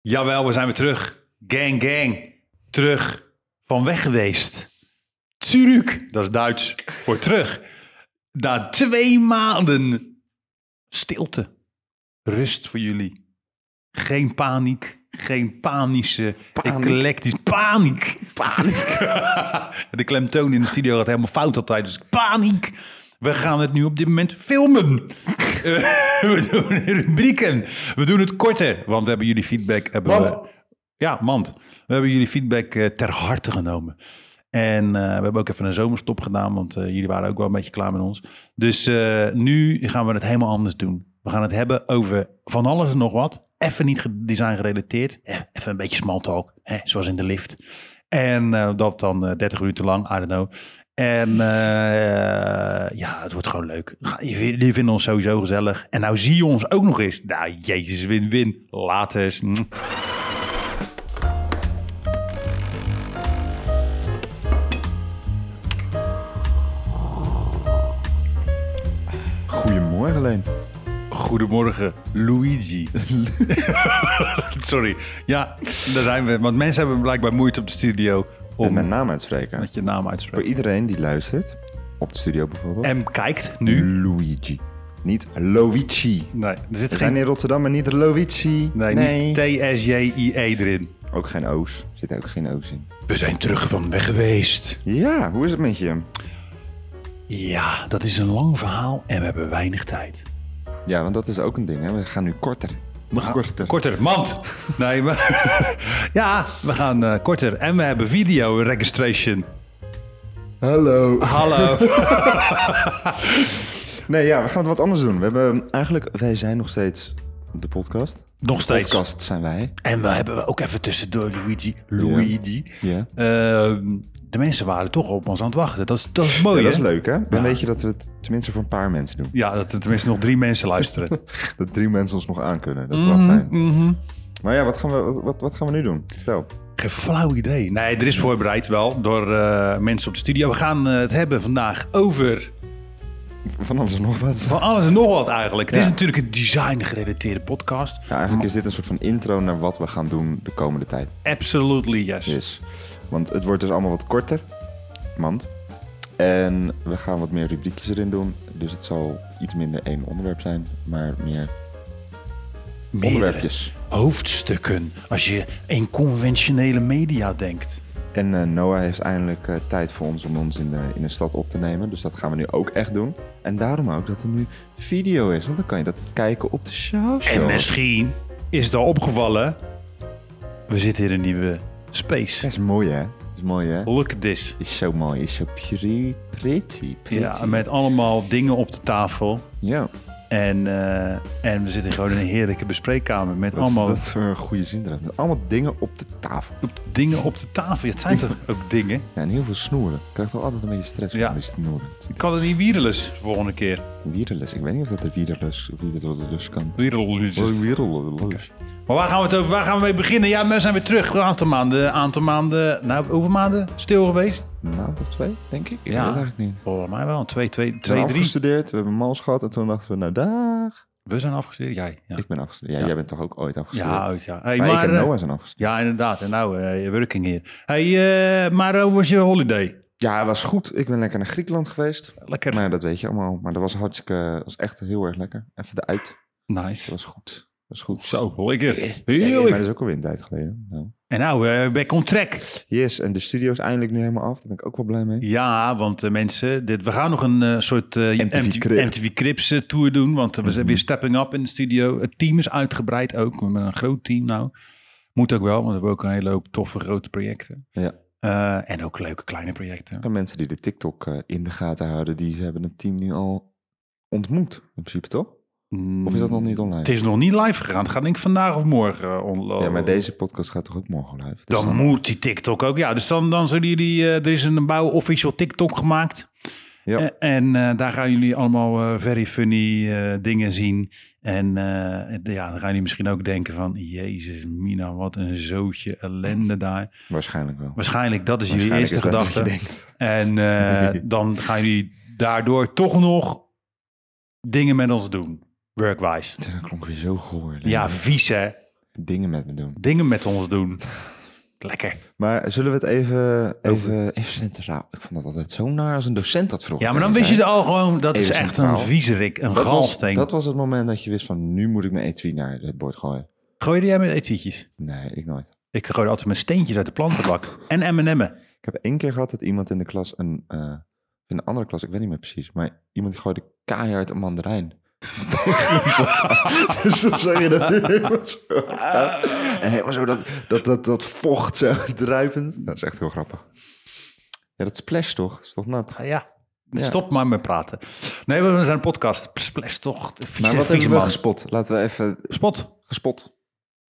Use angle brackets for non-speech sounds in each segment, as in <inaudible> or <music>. Jawel, we zijn weer terug. Gang, gang. Terug van weg geweest. Zurück, dat is Duits voor terug. Na twee maanden stilte. Rust voor jullie. Geen paniek. Geen panische, Paniek. eclectisch paniek. Paniek. <laughs> de klemtoon in de studio gaat helemaal fout altijd. Dus paniek. We gaan het nu op dit moment filmen. Eh, <laughs> we doen rubrieken. We doen het korter, want we hebben jullie feedback. Hebben Want- we, ja, mand. We hebben jullie feedback eh, ter harte genomen. En eh, we hebben ook even een zomerstop gedaan, want eh, jullie waren ook wel een beetje klaar met ons. Dus eh, nu gaan we het helemaal anders doen. We gaan het hebben over van alles en nog wat. Even niet ge- design gerelateerd. Eh, Even een beetje small talk, hè, zoals in de lift. En eh, dat dan eh, 30 minuten lang, I don't know. En eh, ja, het wordt gewoon leuk. Ga- Jullie vinden ons sowieso gezellig. En nou zie je ons ook nog eens. Nou, jezus, win-win. Later. Goedemorgen, Leen. Goedemorgen, Luigi. <laughs> Sorry. Ja, daar zijn we. Want mensen hebben blijkbaar moeite op de studio En om mijn naam uitspreken. met je naam uit te Voor spreken. iedereen die luistert, op de studio bijvoorbeeld. En kijkt nu. Luigi. Niet Loici. Nee, er zit We zijn geen... in Rotterdam, maar niet Loici. Nee, niet T-S-J-I-E E erin. Ook geen O's. Er zit ook geen O's in. We zijn terug van weg geweest. Ja, hoe is het met je? Ja, dat is een lang verhaal en we hebben weinig tijd. Ja, want dat is ook een ding. Hè? We gaan nu korter. We gaan korter. Korter, mand. Nee, maar... <laughs> ja, we gaan eh, korter. En we hebben video registration. Hallo. Hallo. <laughs> Nee, ja, we gaan het wat anders doen. We hebben ehm, eigenlijk, wij zijn nog steeds de podcast. Nog steeds. Podcast zijn wij. En we hebben ook even tussendoor Luigi. Luigi. Ja. Ehm, de mensen waren toch op ons aan het wachten. Dat is, dat is mooi, Ja, dat is hè? leuk, hè? Dan weet je dat we het tenminste voor een paar mensen doen. Ja, dat er tenminste nog drie mensen <laughs> luisteren. Dat drie mensen ons nog aankunnen. Dat is wel fijn. Maar ja, wat gaan, we, wat, wat, wat gaan we nu doen? Vertel. Geen flauw idee. Nee, er is voorbereid wel door eh, mensen op de studio. We gaan eh, het hebben vandaag over Van alles en nog wat. van alles en nog wat eigenlijk. Het is Ja. natuurlijk een design-gerelateerde podcast. Ja, eigenlijk is dit een soort van intro naar wat we gaan doen de komende tijd. Absolutely yes. Yes. Want het wordt dus allemaal wat korter. Mand. En we gaan wat meer rubriekjes erin doen. Dus het zal iets minder één onderwerp zijn, maar meer Meerdere onderwerpjes. hoofdstukken als je in conventionele media denkt. En eh, Noah heeft eindelijk eh, tijd voor ons om ons in de, in de stad op te nemen. Dus dat gaan we nu ook echt doen. En daarom ook dat er nu video is. Want dan kan je dat kijken op de social. En misschien is het al opgevallen, we zitten in een nieuwe space. Dat is mooi, hè? Dat is mooi, hè? Look at this. Is zo mooi. Is zo pretty. Pretty. pretty. Ja, met allemaal dingen op de tafel. Ja. En, eh, en we zitten gewoon in een heerlijke bespreekkamer met Wat allemaal is dat voor een goede zin eruit? Met allemaal dingen op de tafel. op- dingen op de tafel. Ja, het zijn <laughs> toch ook dingen? Ja, en heel veel snoeren. Ik krijg toch altijd een beetje stress Ja. van die snoeren. Het Ik kan het niet wierenlus volgende keer. is Wierenlus. Ik weet niet of dat er wierenlus, wierenlus kan. Wierenlus. Wierenlus. Maar waar gaan we het over? Waar gaan we mee beginnen? Ja, we zijn weer terug. Een aantal maanden, aantal maanden, nou, hoeveel maanden stil geweest? Een maand of twee, denk ik. Ja. Ik weet het eigenlijk niet. Volgens mij wel. Twee, twee, We zijn twee, drie. afgestudeerd, we hebben mals gehad en toen dachten we, nou dag. We zijn afgestudeerd. Jij? Ja, Ik ben afgestudeerd. Ja, Ja. jij bent toch ook ooit afgestudeerd? ja uit, ja. Hey, maar, ik en eh, Noah zijn afgestudeerd. ja, inderdaad. En nou, eh, working hier. Hey, eh, maar hoe was je holiday? Ja, het was goed. Ik ben lekker naar Griekenland geweest. Lekker. Maar Nou dat weet je allemaal. Maar dat was hartstikke, was echt heel erg lekker. Even de uit. Dat Nice. was goed. Dat was goed. Zo, lekker. Ja, ja, maar Heerlijk. dat is ook alweer een tijd geleden. Nou. En nou, eh back on track. Yes, en de studio is eindelijk nu helemaal af. Daar ben ik ook wel blij mee. Ja, want eh, mensen, dit, we gaan nog een eh, soort eh, MTV Mhm. Crib. MTV Crips eh, tour doen. Want we zijn weer stepping up in de studio. Het team is uitgebreid ook. We hebben een groot team nou. Moet ook wel, want we hebben ook een hele hoop toffe grote projecten. Ja. Eh, en ook leuke kleine projecten. En mensen die de TikTok eh, in de gaten houden, die ze hebben het team nu al ontmoet. In principe toch? Of is dat nog niet online? Het is nog niet live gegaan. Het gaat denk ik vandaag of morgen eh, online. Ja, maar deze podcast gaat toch ook morgen live? Dus Dan moet die TikTok ook. Ja, dus dan, dan zullen jullie... eh, er is een bouw official TikTok gemaakt. Ja. Eh, En, eh, daar gaan jullie allemaal eh, very funny eh, dingen zien. En eh, het- ja, dan gaan jullie misschien ook denken van... Jezus, Mina, wat een zootje ellende daar. Waarschijnlijk wel. Waarschijnlijk, dat is jullie Waarschijnlijk eerste is dat wat je gedachte. denkt. <laughs> En eh, dan gaan jullie daardoor toch nog dingen met ons doen. Workwise. Dat klonk weer zo goor. Ja, vies hè? dingen met me doen. Dingen met ons doen. Lekker. Maar zullen we het even... Even, Oh, even centraal. Ik vond dat altijd zo naar als een docent dat vroeg. Ja, maar dan wist je het al gewoon, dat is Even echt een centraal. viezerik, een dat was, galsteen. dat was het moment dat je wist van... Nu moet ik mijn etui naar het bord gooien. Gooide jij met etuietjes? Nee, ik nooit. Ik gooide altijd mijn steentjes uit de plantenbak. En M&M'en. Ik heb één keer gehad dat iemand in de klas een... eh, in een andere klas, ik weet niet meer precies. Maar iemand gooide keihard een mandarijn. <laughs> dus dan zeg je dat helemaal zo. Ah, En helemaal zo dat, dat, dat, dat vocht zo druipend. Dat is echt heel grappig. Ja, dat splash toch? Is toch nat? Ah, Ja. Ja. Stop maar met praten. Nee, we zijn een podcast. Splash toch. Vieze, Maar wat vieze hebben we man. gespot? Laten we even... Spot. Dat Gespot.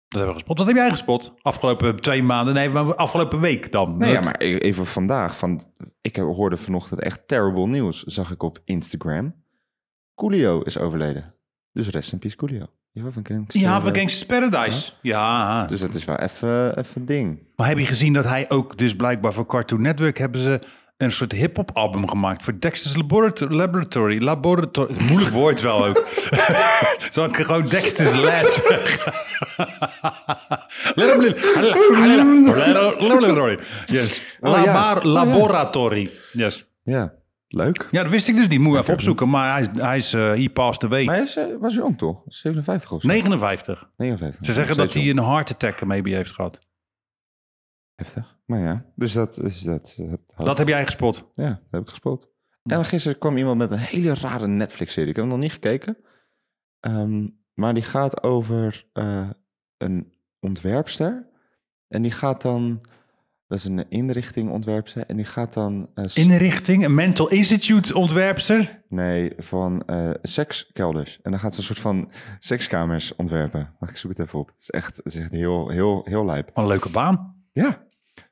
hebben we gespot. Wat heb jij gespot? Afgelopen twee maanden. Nee, maar afgelopen week dan. Nee, ja, maar e- even vandaag. Van, ik heb- hoorde vanochtend echt terrible nieuws. Zag ik op Instagram. Coolio is overleden. Dus rest in peace Coolio. Ja, van Gangster- Ja, van Gangsta's Paradise. Ja. Dus dat is wel even even een ding. Maar heb je gezien dat hij ook, dus blijkbaar voor Cartoon Network, hebben ze een soort hip-hop album gemaakt voor Dexter's Laboratory. Laboratory. laboratory. Moeilijk woord wel ook. <laughs> Zal ik gewoon Dexter's Lab zeggen? <laughs> Laboratory. Yes. Oh, ja. Labar- Laboratory. Yes. Ja, leuk. Ja, dat wist ik dus niet. Moet ik even opzoeken. Maar hij is, hij is eh he passed away. Maar hij is, eh, was jong toch? 57 of zo? 59. 59. Ze zeggen Nog dat steeds hij een heart attack maybe heeft gehad. jong. Heftig. Maar ja, dus dat is dat. dat, Dat heb jij gespot. Ja, dat heb ik gespeeld. En gisteren kwam iemand met een hele rare Netflix-serie. Ik heb hem nog niet gekeken. Ehm, maar die gaat over eh, een ontwerpster. En die gaat dan... Dat is een inrichting ontwerpster. En die gaat dan... eh, s- Inrichting, een mental institute ontwerpster. Nee, van eh, sekskelders. En dan gaat ze een soort van sekskamers ontwerpen. Wacht, ik zoek het even op. Het is echt, het is echt heel, heel, heel lijp. Wat een leuke baan. Ja.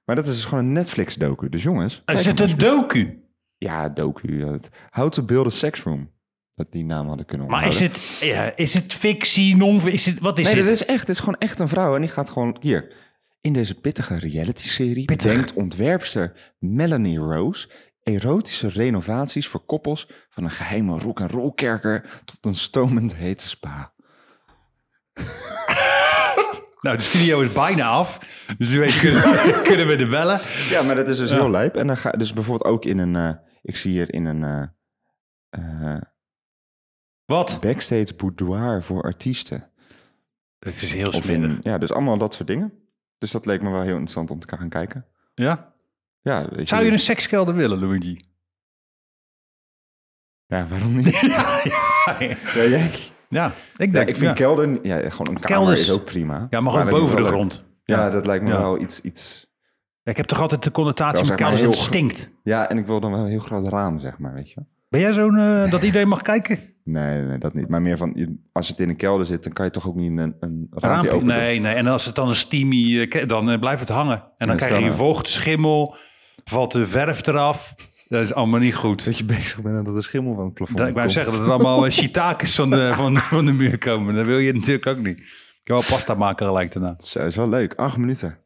Maar dat is dus gewoon een Netflix-docu. Dus jongens... Er kijk zit hem een docu. Ja, docu. ja, Het, How to Build a Sex Room. Dat die naam hadden kunnen Maar is onthouden. het, ja, is het fictie, non is het, Wat is Nee, het? dat is echt. Het is gewoon echt een vrouw. En die gaat gewoon... Hier, in deze pittige reality-serie... Pittig. bedenkt ontwerpster Melanie Rose... erotische renovaties voor koppels... van een geheime rock-and-roll kerker... tot een stomend hete spa. Nou, de studio is bijna af. Dus nu weet kunnen, kunnen we <laughs> er bellen. Ja, maar dat is dus heel lijp. En dan ga dus bijvoorbeeld ook in een... eh, ik zie hier in een... eh, eh, Wat? backstage boudoir voor artiesten. Het is heel Of in, smerig. ja, dus allemaal dat soort dingen. Dus dat leek me wel heel interessant om te gaan kijken. Ja? Ja, weet Zou je dus- een sekskelder willen, Luigi? Ja, waarom <laughs> niet? <laughs> Ja, ja, ja, jij- ja. Ik denk, Ja, ja, ik vind kelder... Ja, gewoon een kamer Kelders. is ook prima. ja, maar gewoon dat lijkt me boven de wel leuk. grond. Ja, dat lijkt me Ja. wel iets, iets... Ik heb toch altijd de Ja, connotatie zeg met maar kelders dat het heel stinkt. Ja, en ik wil dan wel een heel groot raam, zeg maar, weet je wel. Ben jij zo'n, eh, dat iedereen mag kijken? Nee, nee, nee, dat niet. Maar meer van, je- als het in een kelder zit, dan kan je toch ook niet een, een raampje Raampje? open doen. Nee, nee. En als het dan een steamy, eh, ke- dan eh, blijft het hangen. En dan Ja, krijg stel je nou. vocht, schimmel, valt de verf eraf. Dat is allemaal niet goed. Dat je <laughs> bezig bent dat de schimmel van het plafond Dat, ik wou komt. zeggen dat er allemaal eh, shiitakes van <laughs> de, van, van de muur komen. Dat wil je natuurlijk ook niet. Ik kan wel pasta maken gelijk daarna. Zo, is wel leuk. Acht minuten. En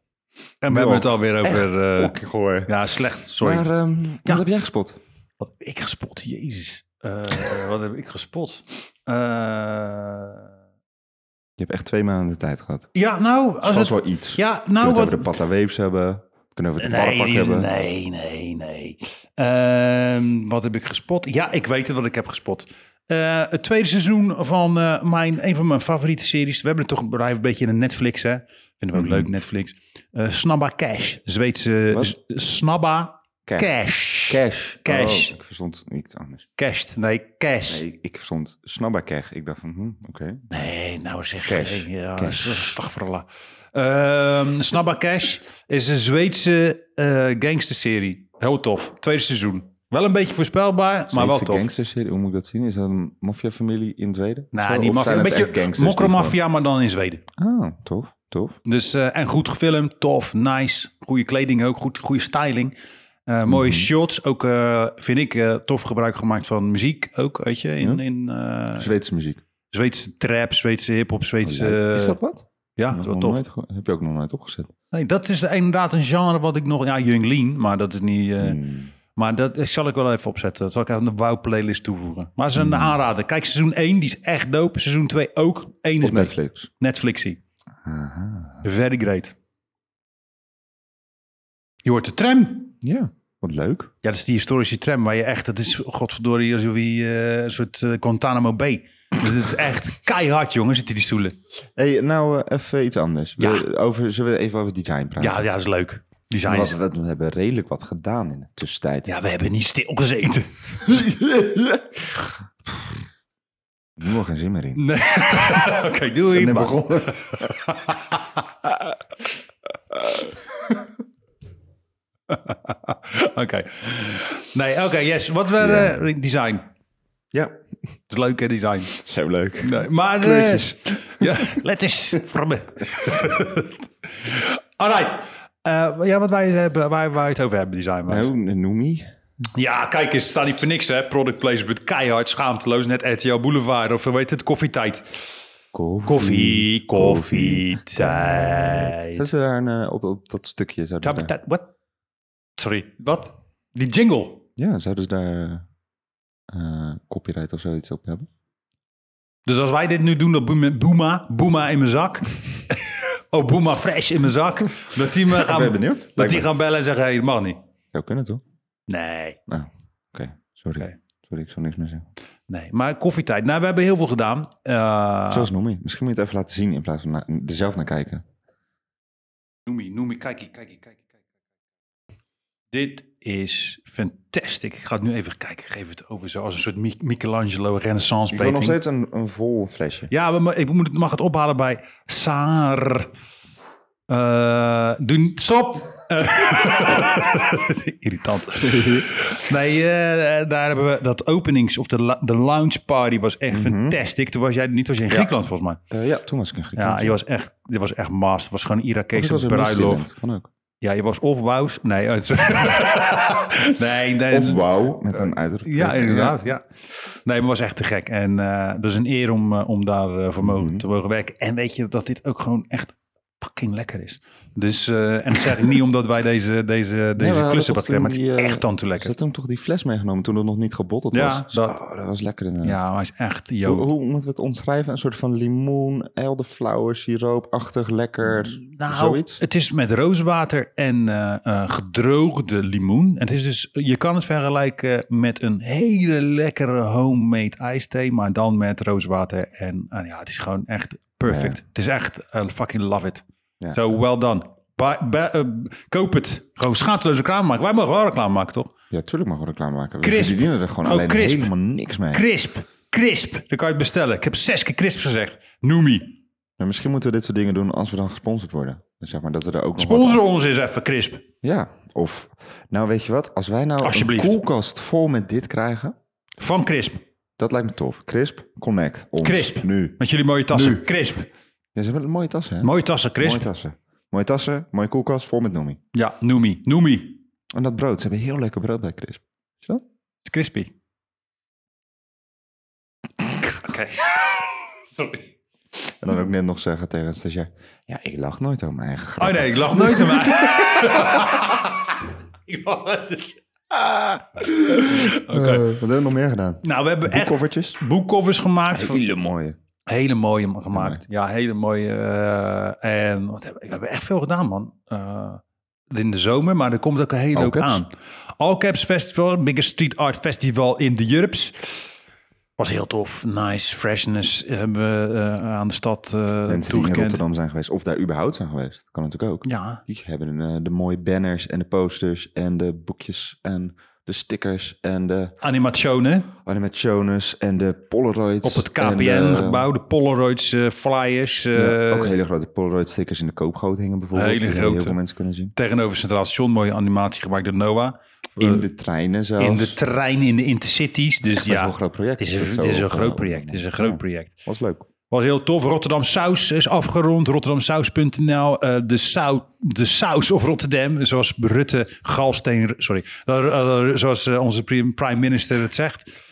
we Joh, hebben het alweer over... eh, Ook hoor. ja, slecht. Sorry. Maar ehm, wat heb jij gespot? Wat heb ik gespot? Jezus. Eh, eh, <laughs> wat heb ik gespot? Eh, Je hebt echt twee maanden de tijd gehad. ja, nou... Dat Als was het, wel iets. ja, kunnen nou... we het Wat, over de pataweefs hebben. Kunnen we het over het nee, barpak die- hebben. nee, nee, nee. Ehm, wat heb ik gespot? Ja, ik weet het wat ik heb gespot. Eh, het tweede seizoen van eh, mijn, een van mijn favoriete series. We hebben het toch blijven een beetje in de Netflix, hè? Vinden we Mhm. ook leuk, Netflix. Eh, Snabba Cash, Zweedse... Wat? Z- Snabba Cash. Cash. Cash. Cash. Oh, ik verstond iets anders. Cash. Nee, Cash. Nee, ik verstond snabba cash. Ik dacht van, hm, oké. Nee, nou zeg. Cash. nee, Ja, Cash. Stagverla. Ehm Snabba Cash is een Zweedse eh gangsterserie. Heel tof. Tweede seizoen. Wel een beetje voorspelbaar, maar wel Zweedse tof. gangsterserie, hoe moet ik dat zien? Is dat een maffiafamilie in Zweden? Nou, Zo, die of maffia, zijn een het echt beetje gangsters die mokromafia, maar dan in Zweden. gewoon- Ah, tof, tof. Dus, eh, en goed gefilmd, tof, nice. Goede kleding ook, goed, goede styling. Eh, Mooie Mhm. shots. Ook, eh, vind ik, eh, tof gebruik gemaakt van muziek. Ook, weet je, in, in eh, Zweedse muziek. Leuk. Zweedse trap, Zweedse hiphop, Zweedse... Oh is dat wat? Ja, eh, dat Nog is wel tof. nooit ge- heb je ook nog nooit opgezet. Nee, dat is inderdaad een genre wat ik nog... Ja, Jungleen, maar dat is niet... eh, Hmm. Maar dat dat zal ik wel even opzetten. Dat zal ik aan de WOW-playlist toevoegen. Maar ze zijn Hmm. een aanrader. Kijk, seizoen 1, die is echt dope. Seizoen 2 ook. Eén is Op met Netflix. Netflixie. Aha. Very great. Je hoort de tram. Ja, wat leuk. Ja, dat is die historische tram waar je echt... Dat is godverdorie alsof je eh, een soort eh, Guantanamo Bay. Dus het is echt keihard, jongen, zitten die stoelen. hey, nou eh, even iets anders. Ja. We, over, zullen we even over design praten? Ja, ja, dat is leuk. Design. Want is- we, we hebben redelijk wat gedaan in de tussentijd. Ja, we hebben niet <laughs> stilgezeten. Nu geen zin meer in. Nee. Oké, doei. net Bye. begonnen. <laughs> Oké. Nee, oké, yes. Wat we... Ja. eh, design. Ja, Het is leuk, hè, design. zo leuk. Nee, maar... eh, Kleurtjes. <laughs> ja, letters. <laughs> Framme. All right. Eh, ja, wat wij hebben, waar, waar we het over hebben, design. Nou, Noemi. Ja, kijk eens, staat niet voor niks, hè. Product placement, keihard, schaamteloos. Net RTL Boulevard of, weet het, koffietijd. Koffie. Koffie, koffietijd. Zet ze daar een, eh, op, op dat stukje? Zouden ze daar, Tabita- Wat? Sorry, wat? Die jingle. ja, zouden ze daar eh, copyright of zoiets op hebben? Dus als wij dit nu doen, dat Boema- Boema, Boema in mijn <laughs> zak. oh, Boema Fresh in mijn zak. Dat die me gaan, ben benieuwd. Dat Lijkt die me. gaan bellen en zeggen, hé, hey, dat mag niet. Zou kunnen, toch? Nee, Nou, oké. Sorry. Oké. Sorry, ik zal niks meer zeggen. nee. Maar koffietijd. Nou, we hebben heel veel gedaan. Eh, Zoals Noemi. Misschien moet je het even laten zien in plaats van na- er zelf naar kijken. Noem je, noem je, kijk hier, kijk hier, kijk hier, kijk hier. Dit is fantastic. Ik ga het nu even kijken. Ik geef het over zo als een soort Mi- Michelangelo renaissance Ik wil nog painting. steeds een, een vol flesje. Ja, we ma- ik moet, het- mag het ophalen bij Saar. Eh, doe niet- stop! Eh, <laughs> Irritant. Nee, eh, daar hebben we dat openings- of de, la- de lounge party was Mhm. echt fantastic. Toen was jij er niet, was je in Griekenland volgens mij. Eh, ja, toen was ik in Ja, Griekenland. je was echt, je was echt master. Het was gewoon een ik Irakese Oh, was in bruiloft. Midtjylland. Kan ook. Ja, je was of Wous. Nee, het- <laughs> nee, nee. Of wauw, met een uitroepteken. Ja, inderdaad. eh, Ja. Nee, maar was echt te gek. En eh dat is een eer om, eh, om daar eh, voor mogen, Mhm. te mogen werken. En weet je dat dit ook gewoon echt fucking lekker is. Dus, eh, en dat zeg ik niet omdat wij deze, deze, we deze hadden klussen toch wat krijgen, maar het toen is die, eh, echt dan te Ze lekker. hadden toen toch die fles meegenomen toen het nog niet gebotteld Ja, was. dat- Oh, dat was lekker. inderdaad. Ja, hij is echt, Hoe, joh. hoe moeten we het omschrijven? Een soort van limoen, elderflower, siroopachtig, lekker, Nou, zoiets? het is met rooswater en eh, eh, gedroogde limoen. En het is dus, je kan het vergelijken met een hele lekkere homemade ijsthee, maar dan met rooswater. En eh, ja, het is gewoon echt perfect. Het is echt eh, fucking love it. Zo, Ja. well done. Ba- ba- eh, koop het. Gewoon schaamteloze reclame maken. Wij mogen wel reclame maken, toch? Ja, tuurlijk mag we reclame maken. We Crisp. verdienen er gewoon Gewoon alleen crisp. helemaal niks mee. Crisp. Crisp. Dan kan je het bestellen. Ik heb zes keer crisp gezegd. Noemie. Maar misschien moeten we dit soort dingen doen als we dan gesponsord worden. Dus zeg maar dat we er ook nog wat Sponsor ons eens even crisp. aan- Ja, of... Nou, weet je wat? Als wij nou een Alsjeblieft. koelkast vol met dit krijgen, Van crisp. dat lijkt me tof. Crisp, connect ons. Crisp. Nu. Met jullie mooie tassen. Nu. Crisp. Ja, ze hebben een mooie tassen, hè? Mooie tassen, crisp. Mooie tassen. Mooie tassen, mooie koelkast vol met noemie. Ja, Noemi. Noemi. Het En dat brood. Ze hebben heel lekker brood bij Crisp. Zie je dat? is crispy. Oké. <laughs> Sorry. En Mm. dan ook net nog zeggen tegen een stagiair... Ja, ik lach nooit over mijn eigen grap. Oh nee, ik lach nooit om mij. <laughs> Ik lach- Ah. Oké. Wat hebben we nog meer gedaan? Nou, we hebben echt Koffertjes. boekcovers gemaakt. van- Hele mooie. Hele mooie gemaakt. Ja, hele mooie. eh, en wat hebben, we hebben echt veel gedaan, man. Eh, in de zomer, maar er komt ook een hele All hoop Caps? aan. All Caps Festival, biggest street art festival in de Jurps. Was heel tof. Nice. Freshness hebben we eh, aan de stad eh, Mensen die in toegekend. Rotterdam zijn geweest. Of daar überhaupt zijn geweest. Kan natuurlijk ook. ja, Die hebben eh, de mooie banners en de posters en de boekjes en de stickers en de animationen animationes en de polaroids. op het en de- KPN-gebouw, de Polaroids, eh, flyers. Ja, eh, ook hele grote polaroid stickers in de koopgoot hingen bijvoorbeeld. Hele die grote. Heel veel mensen kunnen zien. Tegenover Centraal Station, mooie animatie gemaakt door Noah. Eh, In de treinen zelfs. in de trein, in de intercities. Dus Best wel ja, een groot project. Het is, Als je een, het dit zo is een op- groot op- project. Het is een groot Ja, project. Was leuk. Was heel tof. Rotterdam Saus is afgerond. RotterdamSaus.nl. eh de, sau, de saus of Rotterdam. Zoals Rutte Galsteen. Sorry. Eh, eh, zoals eh, onze prim- prime minister het zegt.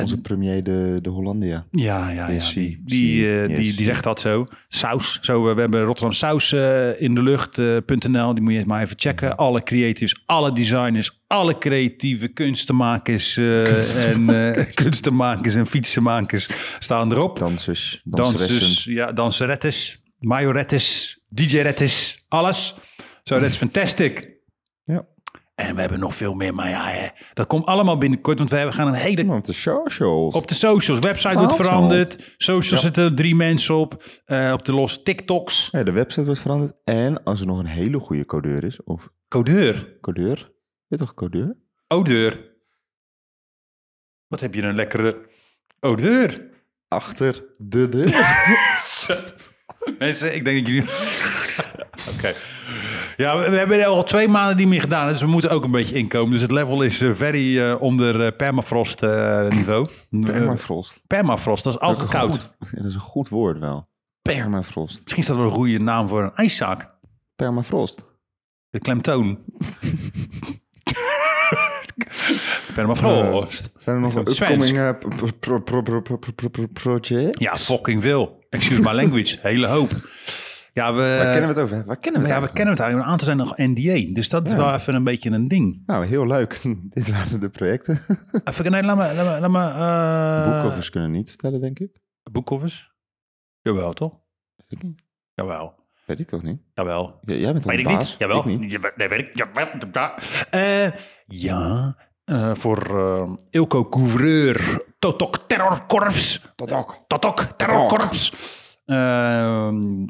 Onze premier de, de Hollandia. Ja, ja, ja. Yes, Die, she, die, she, eh, yes, die, die she. zegt dat zo. Saus. Zo, eh, we hebben Rotterdam Saus eh, in de lucht.nl. die moet je maar even checken. Alle creatives, alle designers, alle creatieve kunstenmakers. eh, en, eh, <laughs> kunstenmakers en fietsenmakers staan erop. Dansers, danseressen. Dansers, ja, danserettes. Majorettes, DJ-rettes, alles. Zo, dat is fantastic. Ja. En we hebben nog veel meer, maar ja, hè, dat komt allemaal binnenkort, want we gaan een hele Op de socials. op de socials. Website wordt Socials. veranderd. Socials zitten drie mensen op. Eh, op de los TikToks. Ja, de website wordt veranderd. En als er nog een hele goede codeur is, of Codeur. codeur, weet toch codeur? Odeur. Wat heb je een lekkere odeur. Achter de deur. <laughs> Mensen, ik denk dat jullie... Oké. Ja, we, we hebben er al twee maanden niet meer gedaan. Dus we moeten ook een beetje inkomen. Dus het level is eh, very eh, onder eh, permafrost eh, niveau. <laughs> Permafrost. Eh, permafrost, dat is altijd Dat is een koud. goed- dat is een goed woord wel. Permafrost. Misschien is dat wel een goede naam voor een ijszaak. Permafrost. De <laughs> klemtoon. Permafrost. Zijn er nog Zo'n upcoming eh, pro- pro- pro- pro- pro- pro- pro- pro- project? Ja, fucking veel. Excuse my language. <laughs> Hele hoop. Ja, we, Waar kennen we het over? Waar kennen we het eh, ja, we over? kennen het eigenlijk. Een aantal zijn nog NDA. Dus dat is wel even een beetje een ding. Nou, heel leuk. <laughs> Dit waren de projecten. Even, nee, laat me... Laat me, laat me eh, Boekcovers kunnen niet vertellen, denk ik. Boekcovers? Jawel, toch? Ik niet. Jawel. Weet ik toch niet? Jawel. J- Jij bent toch Weet de ik baas? niet. Jawel. Ik niet. Jawel, Nee, weet ik. Jawel. Ja. Eh, ja. eh, voor eh Ilko Couvreur. Totok Terrorkorps. Totok. Totok Terrorkorps. Eh,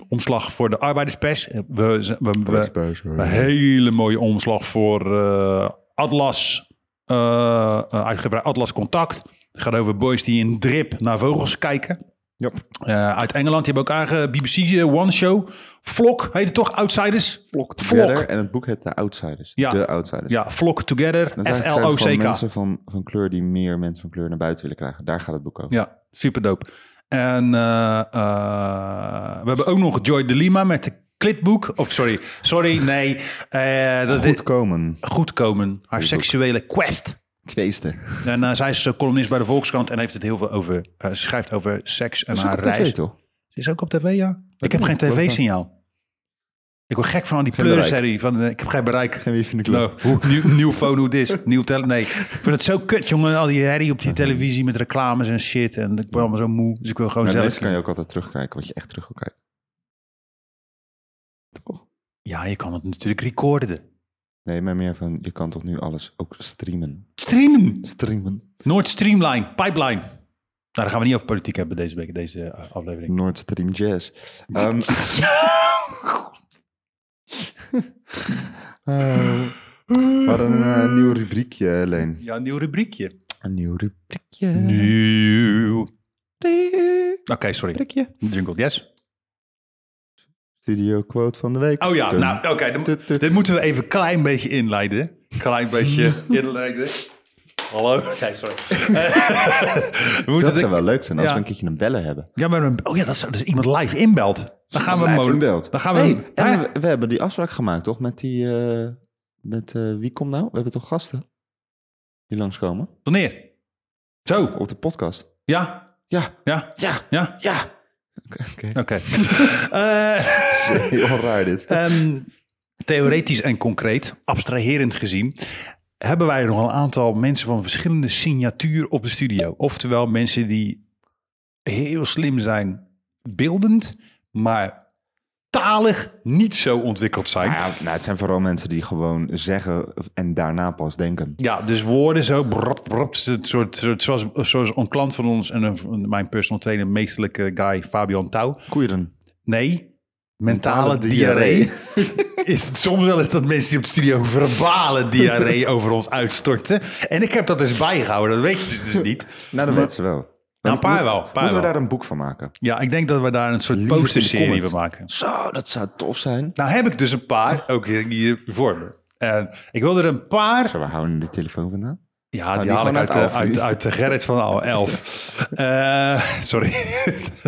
omslag voor de arbeiderspers. We, we, we, Buis, hoor. een hele mooie omslag voor eh, Atlas. eh, eh, uitgeverij Atlas Contact. Het gaat over boys die in drip naar vogels kijken. Ja. Eh, uit Engeland. Die hebben ook eigen BBC eh, One Show. Vlok heet het toch? Outsiders? Flock Flock. Together. En het boek heet De Outsiders. Ja. De Outsiders. Ja, Flock Together. Dat zijn eigenlijk gewoon F-L-O-C-K. mensen van, van kleur die meer mensen van kleur naar buiten willen krijgen. Daar gaat het boek over. Ja, super dope. En eh, eh, we hebben ook nog Joy de Lima met de klitboek. Of sorry, sorry, nee. eh, dat Goed is komen. goed komen. Haar seksuele quest. Kweesten. En eh, zij is eh, columnist bij de Volkskrant en heeft het heel veel over. eh, ze schrijft over seks en Is ook haar op tv, reis. toch? Ze is ook op tv, ja. Ik heb niet, geen geloof ik. tv-signaal. Ik word gek van al die Geen bereik. pleurenserie. Van, eh, ik heb geen bereik. Geen wifi in de club. No, hoe, Nou, nieuw, nieuw phone, hoe dit, nieuw tele. Nee, ik vind het zo kut, jongen. Al die herrie op die televisie met reclames en shit. En ik ben allemaal zo moe. Dus ik wil gewoon Maar zelf... deze kan je ook altijd terugkijken, wat je echt terug wil kijken. Toch? Ja, je kan het natuurlijk recorden. Nee, maar meer van, je kan toch nu alles ook streamen. Streamen! Streamen. Noord Streamline, Pipeline. Nou, daar gaan we niet over politiek hebben deze week, deze eh, aflevering. Nord Stream Jazz. <laughs> Ehm, <laughs> eh, we hadden een eh, nieuw rubriekje, Leen. Ja, een nieuw rubriekje. Een nieuw rubriekje. Nieuw. Oké, sorry. rubriekje. Jingle, yes. Studio quote van de week. Dus Oh ja, Dun, nou, oké. dan- dun, dun. Dit moeten we even een klein beetje inleiden. Klein <laughs> beetje inleiden. Hallo? Nee, sorry. <laughs> we moeten Dat dit- zou wel leuk zijn als Ja. we een keertje een bellen hebben. Ja, maar een- oh ja, dat zou dus iemand live inbelt. Dan gaan we hem Live molen- inbelt. Dan gaan we. Hey, hem- en Hè? we, we hebben die afspraak gemaakt, toch? Met die, eh, met eh, wie komt nou? We hebben toch gasten die langskomen? Wanneer? Zo. Op de podcast. Ja. Ja, Ja. ja, Ja. ja. Oké, oké. <laughs> Oké. <laughs> Eh, heel raar dit. ehm, theoretisch en concreet, abstraherend gezien, hebben wij nog een aantal mensen van verschillende signatuur op de studio. Oftewel mensen die heel slim zijn, beeldend, maar talig niet zo ontwikkeld zijn. Nou ja, nou, het zijn vooral mensen die gewoon zeggen en daarna pas denken. Ja, dus woorden zo. Brop, brop, het soort, soort, zoals, zoals een klant van ons en een, mijn personal trainer, meestelijke guy Fabian Touw. Koeieren. Nee, mentale, Mentale diarree. diarree. <laughs> is het soms wel eens dat mensen die op de studio verbale <laughs> diarree over ons uitstorten. En ik heb dat dus bijgehouden, dat weet je dus niet. Nou, dat weten ze wel. Dan een paar moet- wel, een paar moeten we wel. daar een boek van maken? Ja, ik denk dat we daar een soort Liever in de posterserie comments. van maken. Zo, dat zou tof zijn. Nou heb ik dus een paar, ook hier voor me. En ik wil er een paar Waar houden die telefoon vandaan? Ja, Nou, die, die haal ik uit, gewoon uit de- Alf. uit, uit de Gerrit van al <laughs> elf. Eh, sorry. <laughs>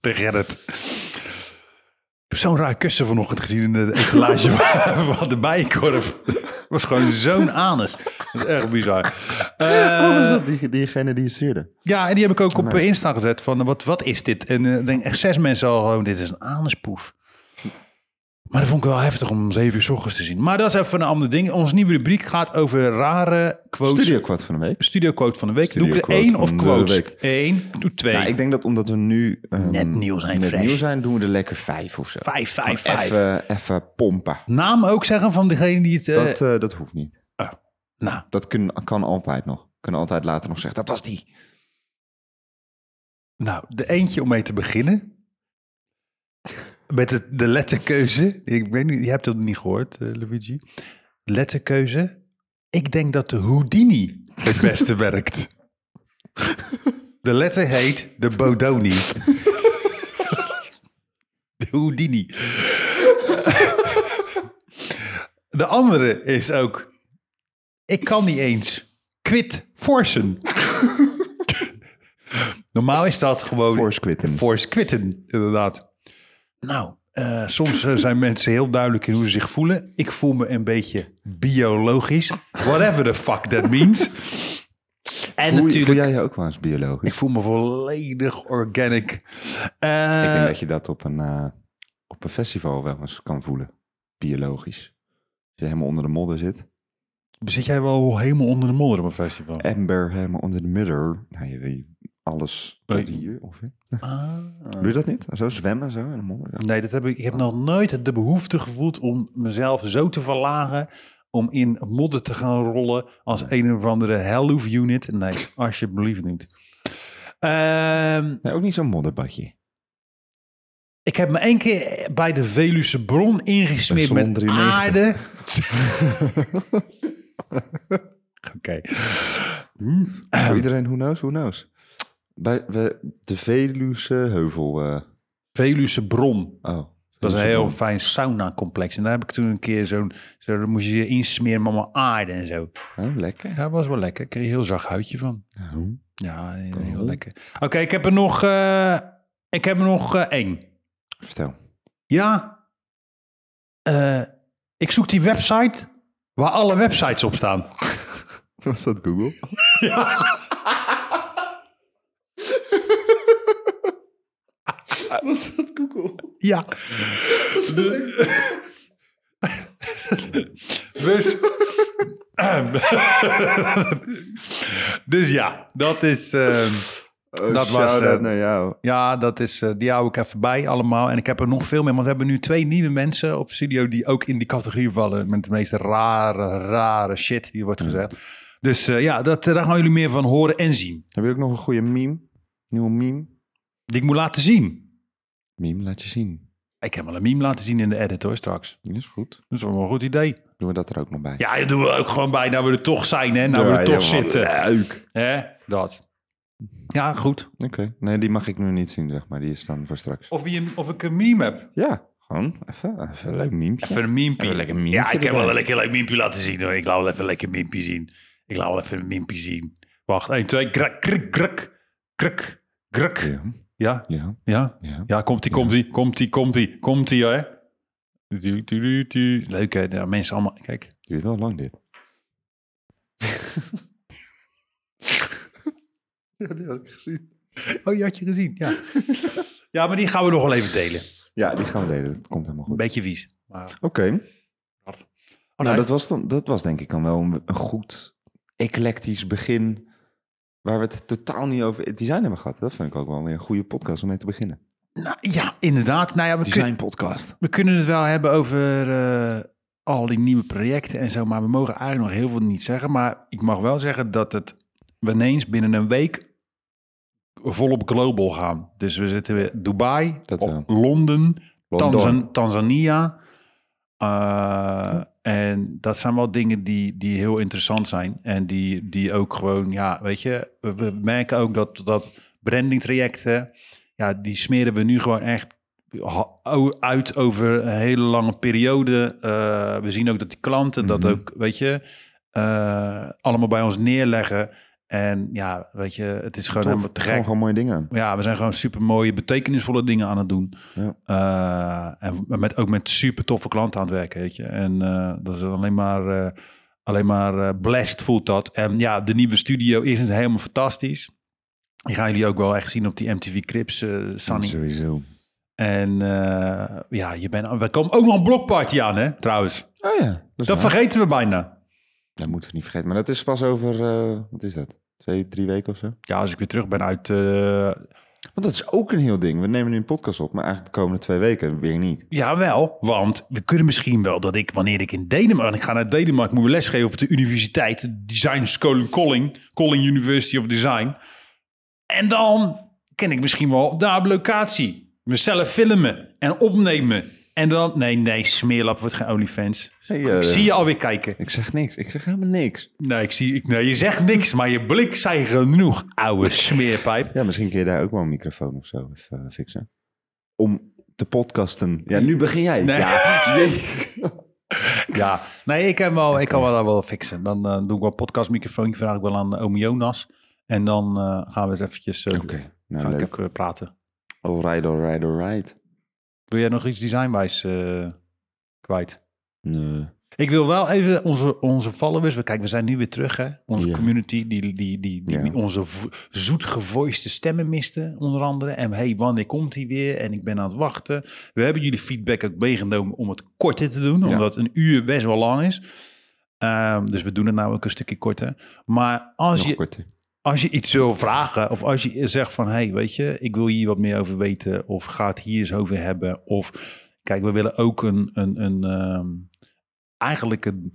de Gerrit. Ik heb zo'n raar kussen vanochtend gezien in de etalage <laughs> van de bijenkorf. <laughs> Het was gewoon zo'n anus. Dat is echt bizar. Eh, Of is dat die, diegene die het stuurde? ja, en die heb ik ook op eh, Insta gezet oh, van eh, wat, wat is dit? En eh, ik denk echt zes mensen al gewoon, dit is een anuspoef. Maar dat vond ik wel heftig om om 7 uur s ochtends te zien. Maar dat is even een ander ding. Onze nieuwe rubriek gaat over rare quotes. Studio kwart van de week. Studio quote van de week. Doe ik er Studio één quote of van de quotes? week. Eén, doe twee. Nou, ik denk dat omdat we nu ehm, Net nieuw zijn, net fresh. nieuw zijn, doen we er lekker vijf of zo. Vijf, vijf, Gewoon vijf. Even, even pompen. Naam ook zeggen van degene die het... eh, Dat, eh, dat hoeft niet. oh, nou, Dat kun, kan altijd nog. Kunnen altijd later nog zeggen. Dat was die. nou, de eentje om mee te beginnen. Met het, de letterkeuze. Ik weet niet, je hebt het niet gehoord, eh, Luigi. Letterkeuze. Ik denk dat de Houdini het beste werkt. De letter heet de Bodoni. De Houdini. De andere is ook... Ik kan niet eens quit forcen. Normaal is dat gewoon... Force quitten. Force quitten, inderdaad. Nou, eh, soms eh, zijn mensen heel duidelijk in hoe ze zich voelen. Ik voel me een beetje biologisch. Whatever the fuck that means. <laughs> En Voel, je- natuurlijk, voel jij je ook wel eens biologisch? ik voel me volledig organic. Eh, ik denk dat je dat op een, eh, op een festival wel eens kan voelen. Biologisch. Als je helemaal onder de modder zit. Zit jij wel helemaal onder de modder op een festival? Ember helemaal onder de modder. Nou, je weet alles tot Nee. hier ongeveer. Ah. Doe je dat niet? Zo zwemmen zo in de modder? zo? Nee, dat heb ik, ik heb nog nooit de behoefte gevoeld om mezelf zo te verlagen. Om in modder te gaan rollen als een of andere helloof unit. Nee, <laughs> alsjeblieft niet. Ehm, Nee, ook niet zo'n modderbadje. ik heb me één keer bij de Veluwe bron ingesmeerd Bij zon met 93. aarde. <laughs> Oké. Hm. Voor iedereen, who knows, who knows. Bij, we, de Veluwse heuvel. eh, Veluwe bron. oh. Dat is een heel Veluwse fijn sauna-complex. En daar heb ik toen een keer zo'n... Zo, dan moest je je insmeren met mijn aarde en zo. bron. Oh, lekker. Ja, dat was wel lekker. Ik kreeg een heel zacht huidje van. Oh. Ja, heel Oh. lekker. Oké, ik heb er nog... eh, ik heb er nog eh, één. Vertel. Ja. Eh, ik zoek die website waar alle websites op staan. Was dat Google? Was dat Google? Ja. <laughs> dus... dus ja, dat is... ehm, Dat dat was, was eh, naar jou. Ja, dat is, eh, die hou ik even bij allemaal. En ik heb er nog veel meer, want we hebben nu twee nieuwe mensen op studio die ook in die categorie vallen. Met de meest rare, rare shit die wordt gezegd. Dus eh, ja, dat, eh, daar gaan jullie meer van horen en zien. Heb je ook nog een goede meme? Nieuwe meme? Die ik moet laten zien. Meme laat je zien. Ik heb wel een meme laten zien in de edit hoor, straks. Die is goed. Dat is wel een goed idee. Doen we dat er ook nog bij? Ja, dat doen we ook gewoon bij. Nou we er toch zijn, hè. Nou we er Ja, toch ja, man. zitten. Leuk. Hè, dat. Ja, goed. Oké. Nee, die mag ik nu niet zien, zeg maar. Die is dan voor straks. Of, wie een- of ik een meme heb. Ja, gewoon even, even een leuk meme. Even een miempie. Even lekker miempie Ja, ik heb erbij. wel een lekker leuk miempie laten zien hoor. Ik laat wel even een lekker miempie zien. Ik laat wel even een miempie zien. Wacht, 1, 2, krak, krik, krak, krak, krak. Ja, Ja, ja, ja. ja. Ja, komt die, komt die, komt die, komt die, komt die hè. Du- du- du- du. Leuk hè, ja, mensen allemaal, kijk. Duurt wel lang dit. ja, die had ik gezien. Oh, die had je gezien, ja. <laughs> ja, maar die gaan we nog wel even delen. Ja, die gaan we delen. Dat komt helemaal goed. Oké. Beetje vies. Maar, Nou, dat was, dan, dat was denk ik dan wel een, een goed eclectisch begin. Waar we het totaal niet over het design hebben gehad. Dat vind ik ook wel weer een goede podcast om mee te beginnen. nou, ja, inderdaad. Nou ja, we kunnen... podcast. We kunnen het wel hebben over eh, al die nieuwe projecten en zo, maar we mogen eigenlijk nog heel veel niet zeggen. Maar ik mag wel zeggen dat het we ineens binnen een week volop global gaan. Dus we zitten weer Dubai, Dat op wel. Londen, London. Tanzan- Tanzania. Eh, En dat zijn wel dingen die, die heel interessant zijn. En die, die ook gewoon, ja, weet je, we, we merken ook dat, dat branding trajecten, ja, die smeren we nu gewoon echt ha- o- uit over een hele lange periode. Eh, we zien ook dat die klanten dat Mhm. ook, weet je, eh, allemaal bij ons neerleggen. En ja, weet je, het is gewoon Tof. helemaal te gek. Gewoon, gewoon mooie dingen aan. Ja, we zijn gewoon super mooie, betekenisvolle dingen aan het doen. Ja. Eh, en met, ook met super toffe klanten aan het werken, weet je. En eh, dat is alleen maar, eh, alleen maar eh, blessed voelt dat. En ja, de nieuwe studio is het helemaal fantastisch. Die gaan jullie ook wel echt zien op die MTV Crips, eh Sunny. Sowieso. En eh, ja, je bent, we komen ook nog een blokparty aan, hè, trouwens. Oh ja, dat, is Dat waar. vergeten we bijna. Dat moeten we niet vergeten. Maar dat is pas over, eh, wat is dat? Twee, drie weken of zo? Ja, als ik weer terug ben uit... eh Want dat is ook een heel ding. We nemen nu een podcast op, maar eigenlijk de komende twee weken weer niet. jawel, want we kunnen misschien wel dat ik, wanneer ik in Denemarken... want Ik ga naar Denemarken, ik moet les geven op de universiteit. Design School Colling, Colling University of Design. En dan ken ik misschien wel op daar op locatie. Mezelf filmen en opnemen. En dan, nee, nee, smeerlap wordt geen OnlyFans. Hey, Ik eh, zie je alweer kijken. Ik zeg niks. Ik zeg helemaal niks. Nee, ik zie, ik, nee, je zegt niks, maar je blik zei genoeg, oude smeerpijp. Ja, misschien kun je daar ook wel een microfoon of zo even eh, fixen. Om te podcasten. Ja, nu begin jij. Nee. <laughs> Ja. Jee. Ja, nee, ik, heb wel, ik kan wel, dat wel fixen. Dan eh, doe ik wel een podcastmicrofoontje, vraag ik wel aan eh, oom Jonas. En dan eh, gaan we eens eventjes eh, Oké, nou gaan we leuk. even praten. Alright, alright, alright. Wil jij nog iets designwijs eh, kwijt? Nee. Ik wil wel even onze, onze followers... we- Kijk, we zijn nu weer terug, hè? Onze Ja. community, die, die, die, die, Ja. die onze vo- zoetgevoiste stemmen miste, onder andere. En hey, wanneer komt hij weer? En ik ben aan het wachten. We hebben jullie feedback ook meegenomen om het korter te doen... Ja. omdat een uur best wel lang is. Ehm, dus we doen het nou ook een stukje korter. Maar als Nog je, korter. als je iets wil vragen of als je zegt van... hé, hey, weet je, ik wil hier wat meer over weten of ga het hier eens over hebben... of kijk, we willen ook een, een, een ehm, eigenlijk een,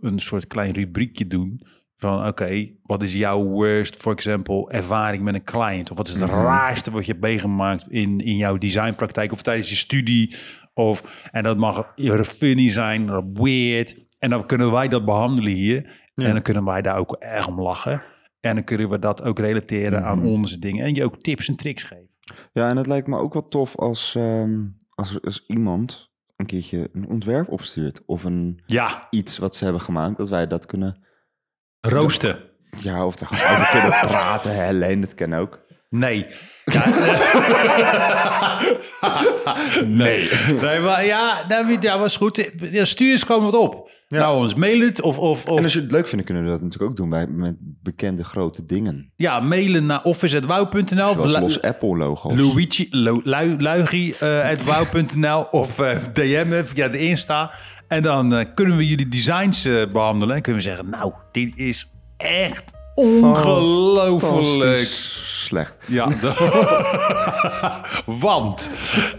een soort klein rubriekje doen... Van oké, wat is jouw worst, for example, ervaring met een client? Of wat is het raarste wat je hebt meegemaakt in, in jouw designpraktijk of tijdens je studie? Of, en dat mag funny zijn, of weird. En dan kunnen wij dat behandelen hier. En dan kunnen wij daar ook erg om lachen. En dan kunnen we dat ook relateren aan onze dingen. En je ook tips en tricks geven. Ja, en het lijkt me ook wel tof als, ehm, als, als iemand een keertje een ontwerp opstuurt. Of een, Ja, iets wat ze hebben gemaakt, dat wij dat kunnen... roosten. Ja, of daar gewoon over kunnen <laughs> praten. Hè, Leen, dat kan ook. Nee. <laughs> Ja, nee. nee. maar ja, dat weet- ja, was goed. Ja, stuur eens gewoon wat op. Nou, ons mail het. Of, of, En of als je het leuk vindt, kunnen we dat natuurlijk ook doen bij, met bekende grote dingen. ja, mailen naar office.wouw.nl. Of Zoals lu- los Apple-logo's. Luigi, Lu- Lu- Luigi, eh, at wauw.nl of eh DM'en via de Insta. En dan eh, kunnen we jullie designs eh, behandelen. En kunnen we zeggen, nou, dit is echt Fantastisch ongelooflijk. Slecht. <laughs> Ja, <laughs> want.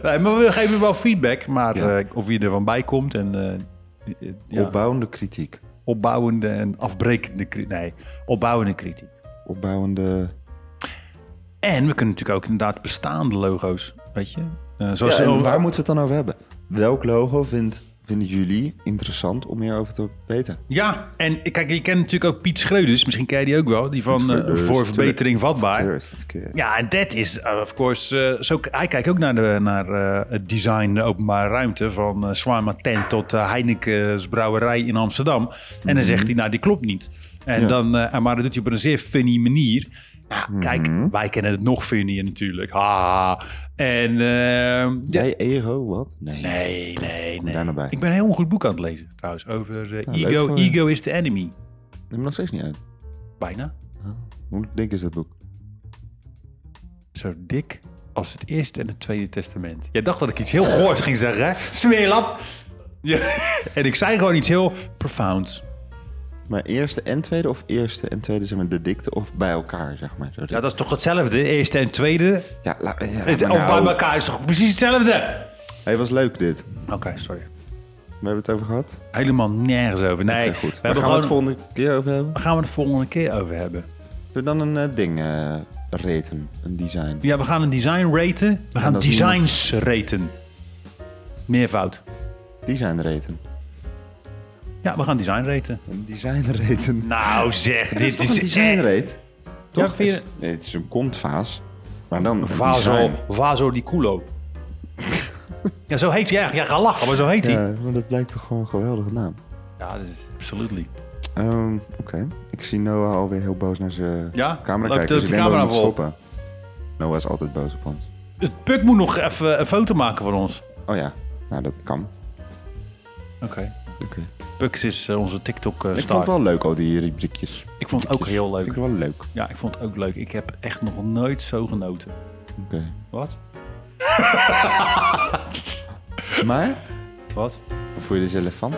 Nee, maar we geven wel feedback. Maar Ja. eh, of je er van bij komt en... eh, eh, ja, Opbouwende kritiek. opbouwende en afbrekende kritiek. Nee, opbouwende kritiek. Opbouwende... En we kunnen natuurlijk ook inderdaad bestaande logo's, weet je. Eh, zoals Ja, en zo- Dus, waar moeten we het dan over hebben? Welk logo vindt, vinden jullie interessant om hierover te weten? Ja, en kijk, je kent natuurlijk ook Piet Schreuders. Misschien ken je die ook wel. Die van eh, Schreuders, Voor Verbetering Vatbaar. Eerst, even kijken. Ja, en dat is, eh, of course... eh, zo, hij kijkt ook naar, de, naar eh, het design de openbare ruimte. Van eh Swarma Tent tot eh, Heineken's Brouwerij in Amsterdam. En dan zegt hij, nou, die klopt niet. En Mhm. Ja. Mhm. dan, eh, maar dat doet hij op een zeer funny manier. Ja, kijk, wij kennen het nog funnier natuurlijk. Haha. En... eh, ja. Jij ego, wat? Nee. Nee, nee, daar nee. nou bij. Ik ben een heel goed boek aan het lezen, trouwens. Over eh, leuk ego, voor je. ego is the enemy. Neem hem nog steeds niet uit. Bijna. Hoe dik is dat boek? Zo dik als het Eerste en het Tweede Testament. Jij dacht dat ik iets heel goors ging zeggen, hè? Smeerlap! Ja. <laughs> En ik zei gewoon iets heel profounds. Maar eerste en tweede of eerste en tweede zeg maar de dikte of bij elkaar zeg maar. Zo dik. Ja, dat is toch hetzelfde? Eerste en Tweede? ja, la- ja, laat Het, maar Of nou. bij elkaar is toch precies hetzelfde? Hey, was leuk dit. Oké, sorry. We hebben het over gehad. Helemaal nergens over. Nee, Oké, we goed. Waar hebben gaan gewoon... we het volgende keer over hebben? Waar gaan we het volgende keer over hebben? Zullen we dan een eh, ding eh raten? Een design? Ja, we gaan een design raten. We gaan dat is niemand. designs raten. Meervoud. Design raten. Ja, we gaan design raten. Een design raten. Nou zeg, dit Dit is een design rate. Toch? vind je- Nee, het is een kontvaas. Maar dan een Vaso, design. Vaso di culo. ja, zo heet hij echt. Ja, ga lachen, maar zo heet hij. Ja, Ja, maar dat blijkt toch gewoon een geweldige naam. dat is absolutely. Ehm, Oké, ik zie Noah alweer heel boos naar zijn Ja? camera Loopt kijken. Dus de ik denk dat we camera moeten vol? stoppen. Noah is altijd boos op ons. Het Puk moet nog even een foto maken van ons. Oh ja, nou dat kan. Oké. Oké. Puk is eh, onze TikTok-star. Ik vond het wel leuk al die rubriekjes. ik vond het ook heel leuk. Vind ik wel leuk. Oké. Ja, ik vond het ook leuk. Ik heb echt nog nooit zo genoten. Wat? Maar, Wat? voel je deze elefant?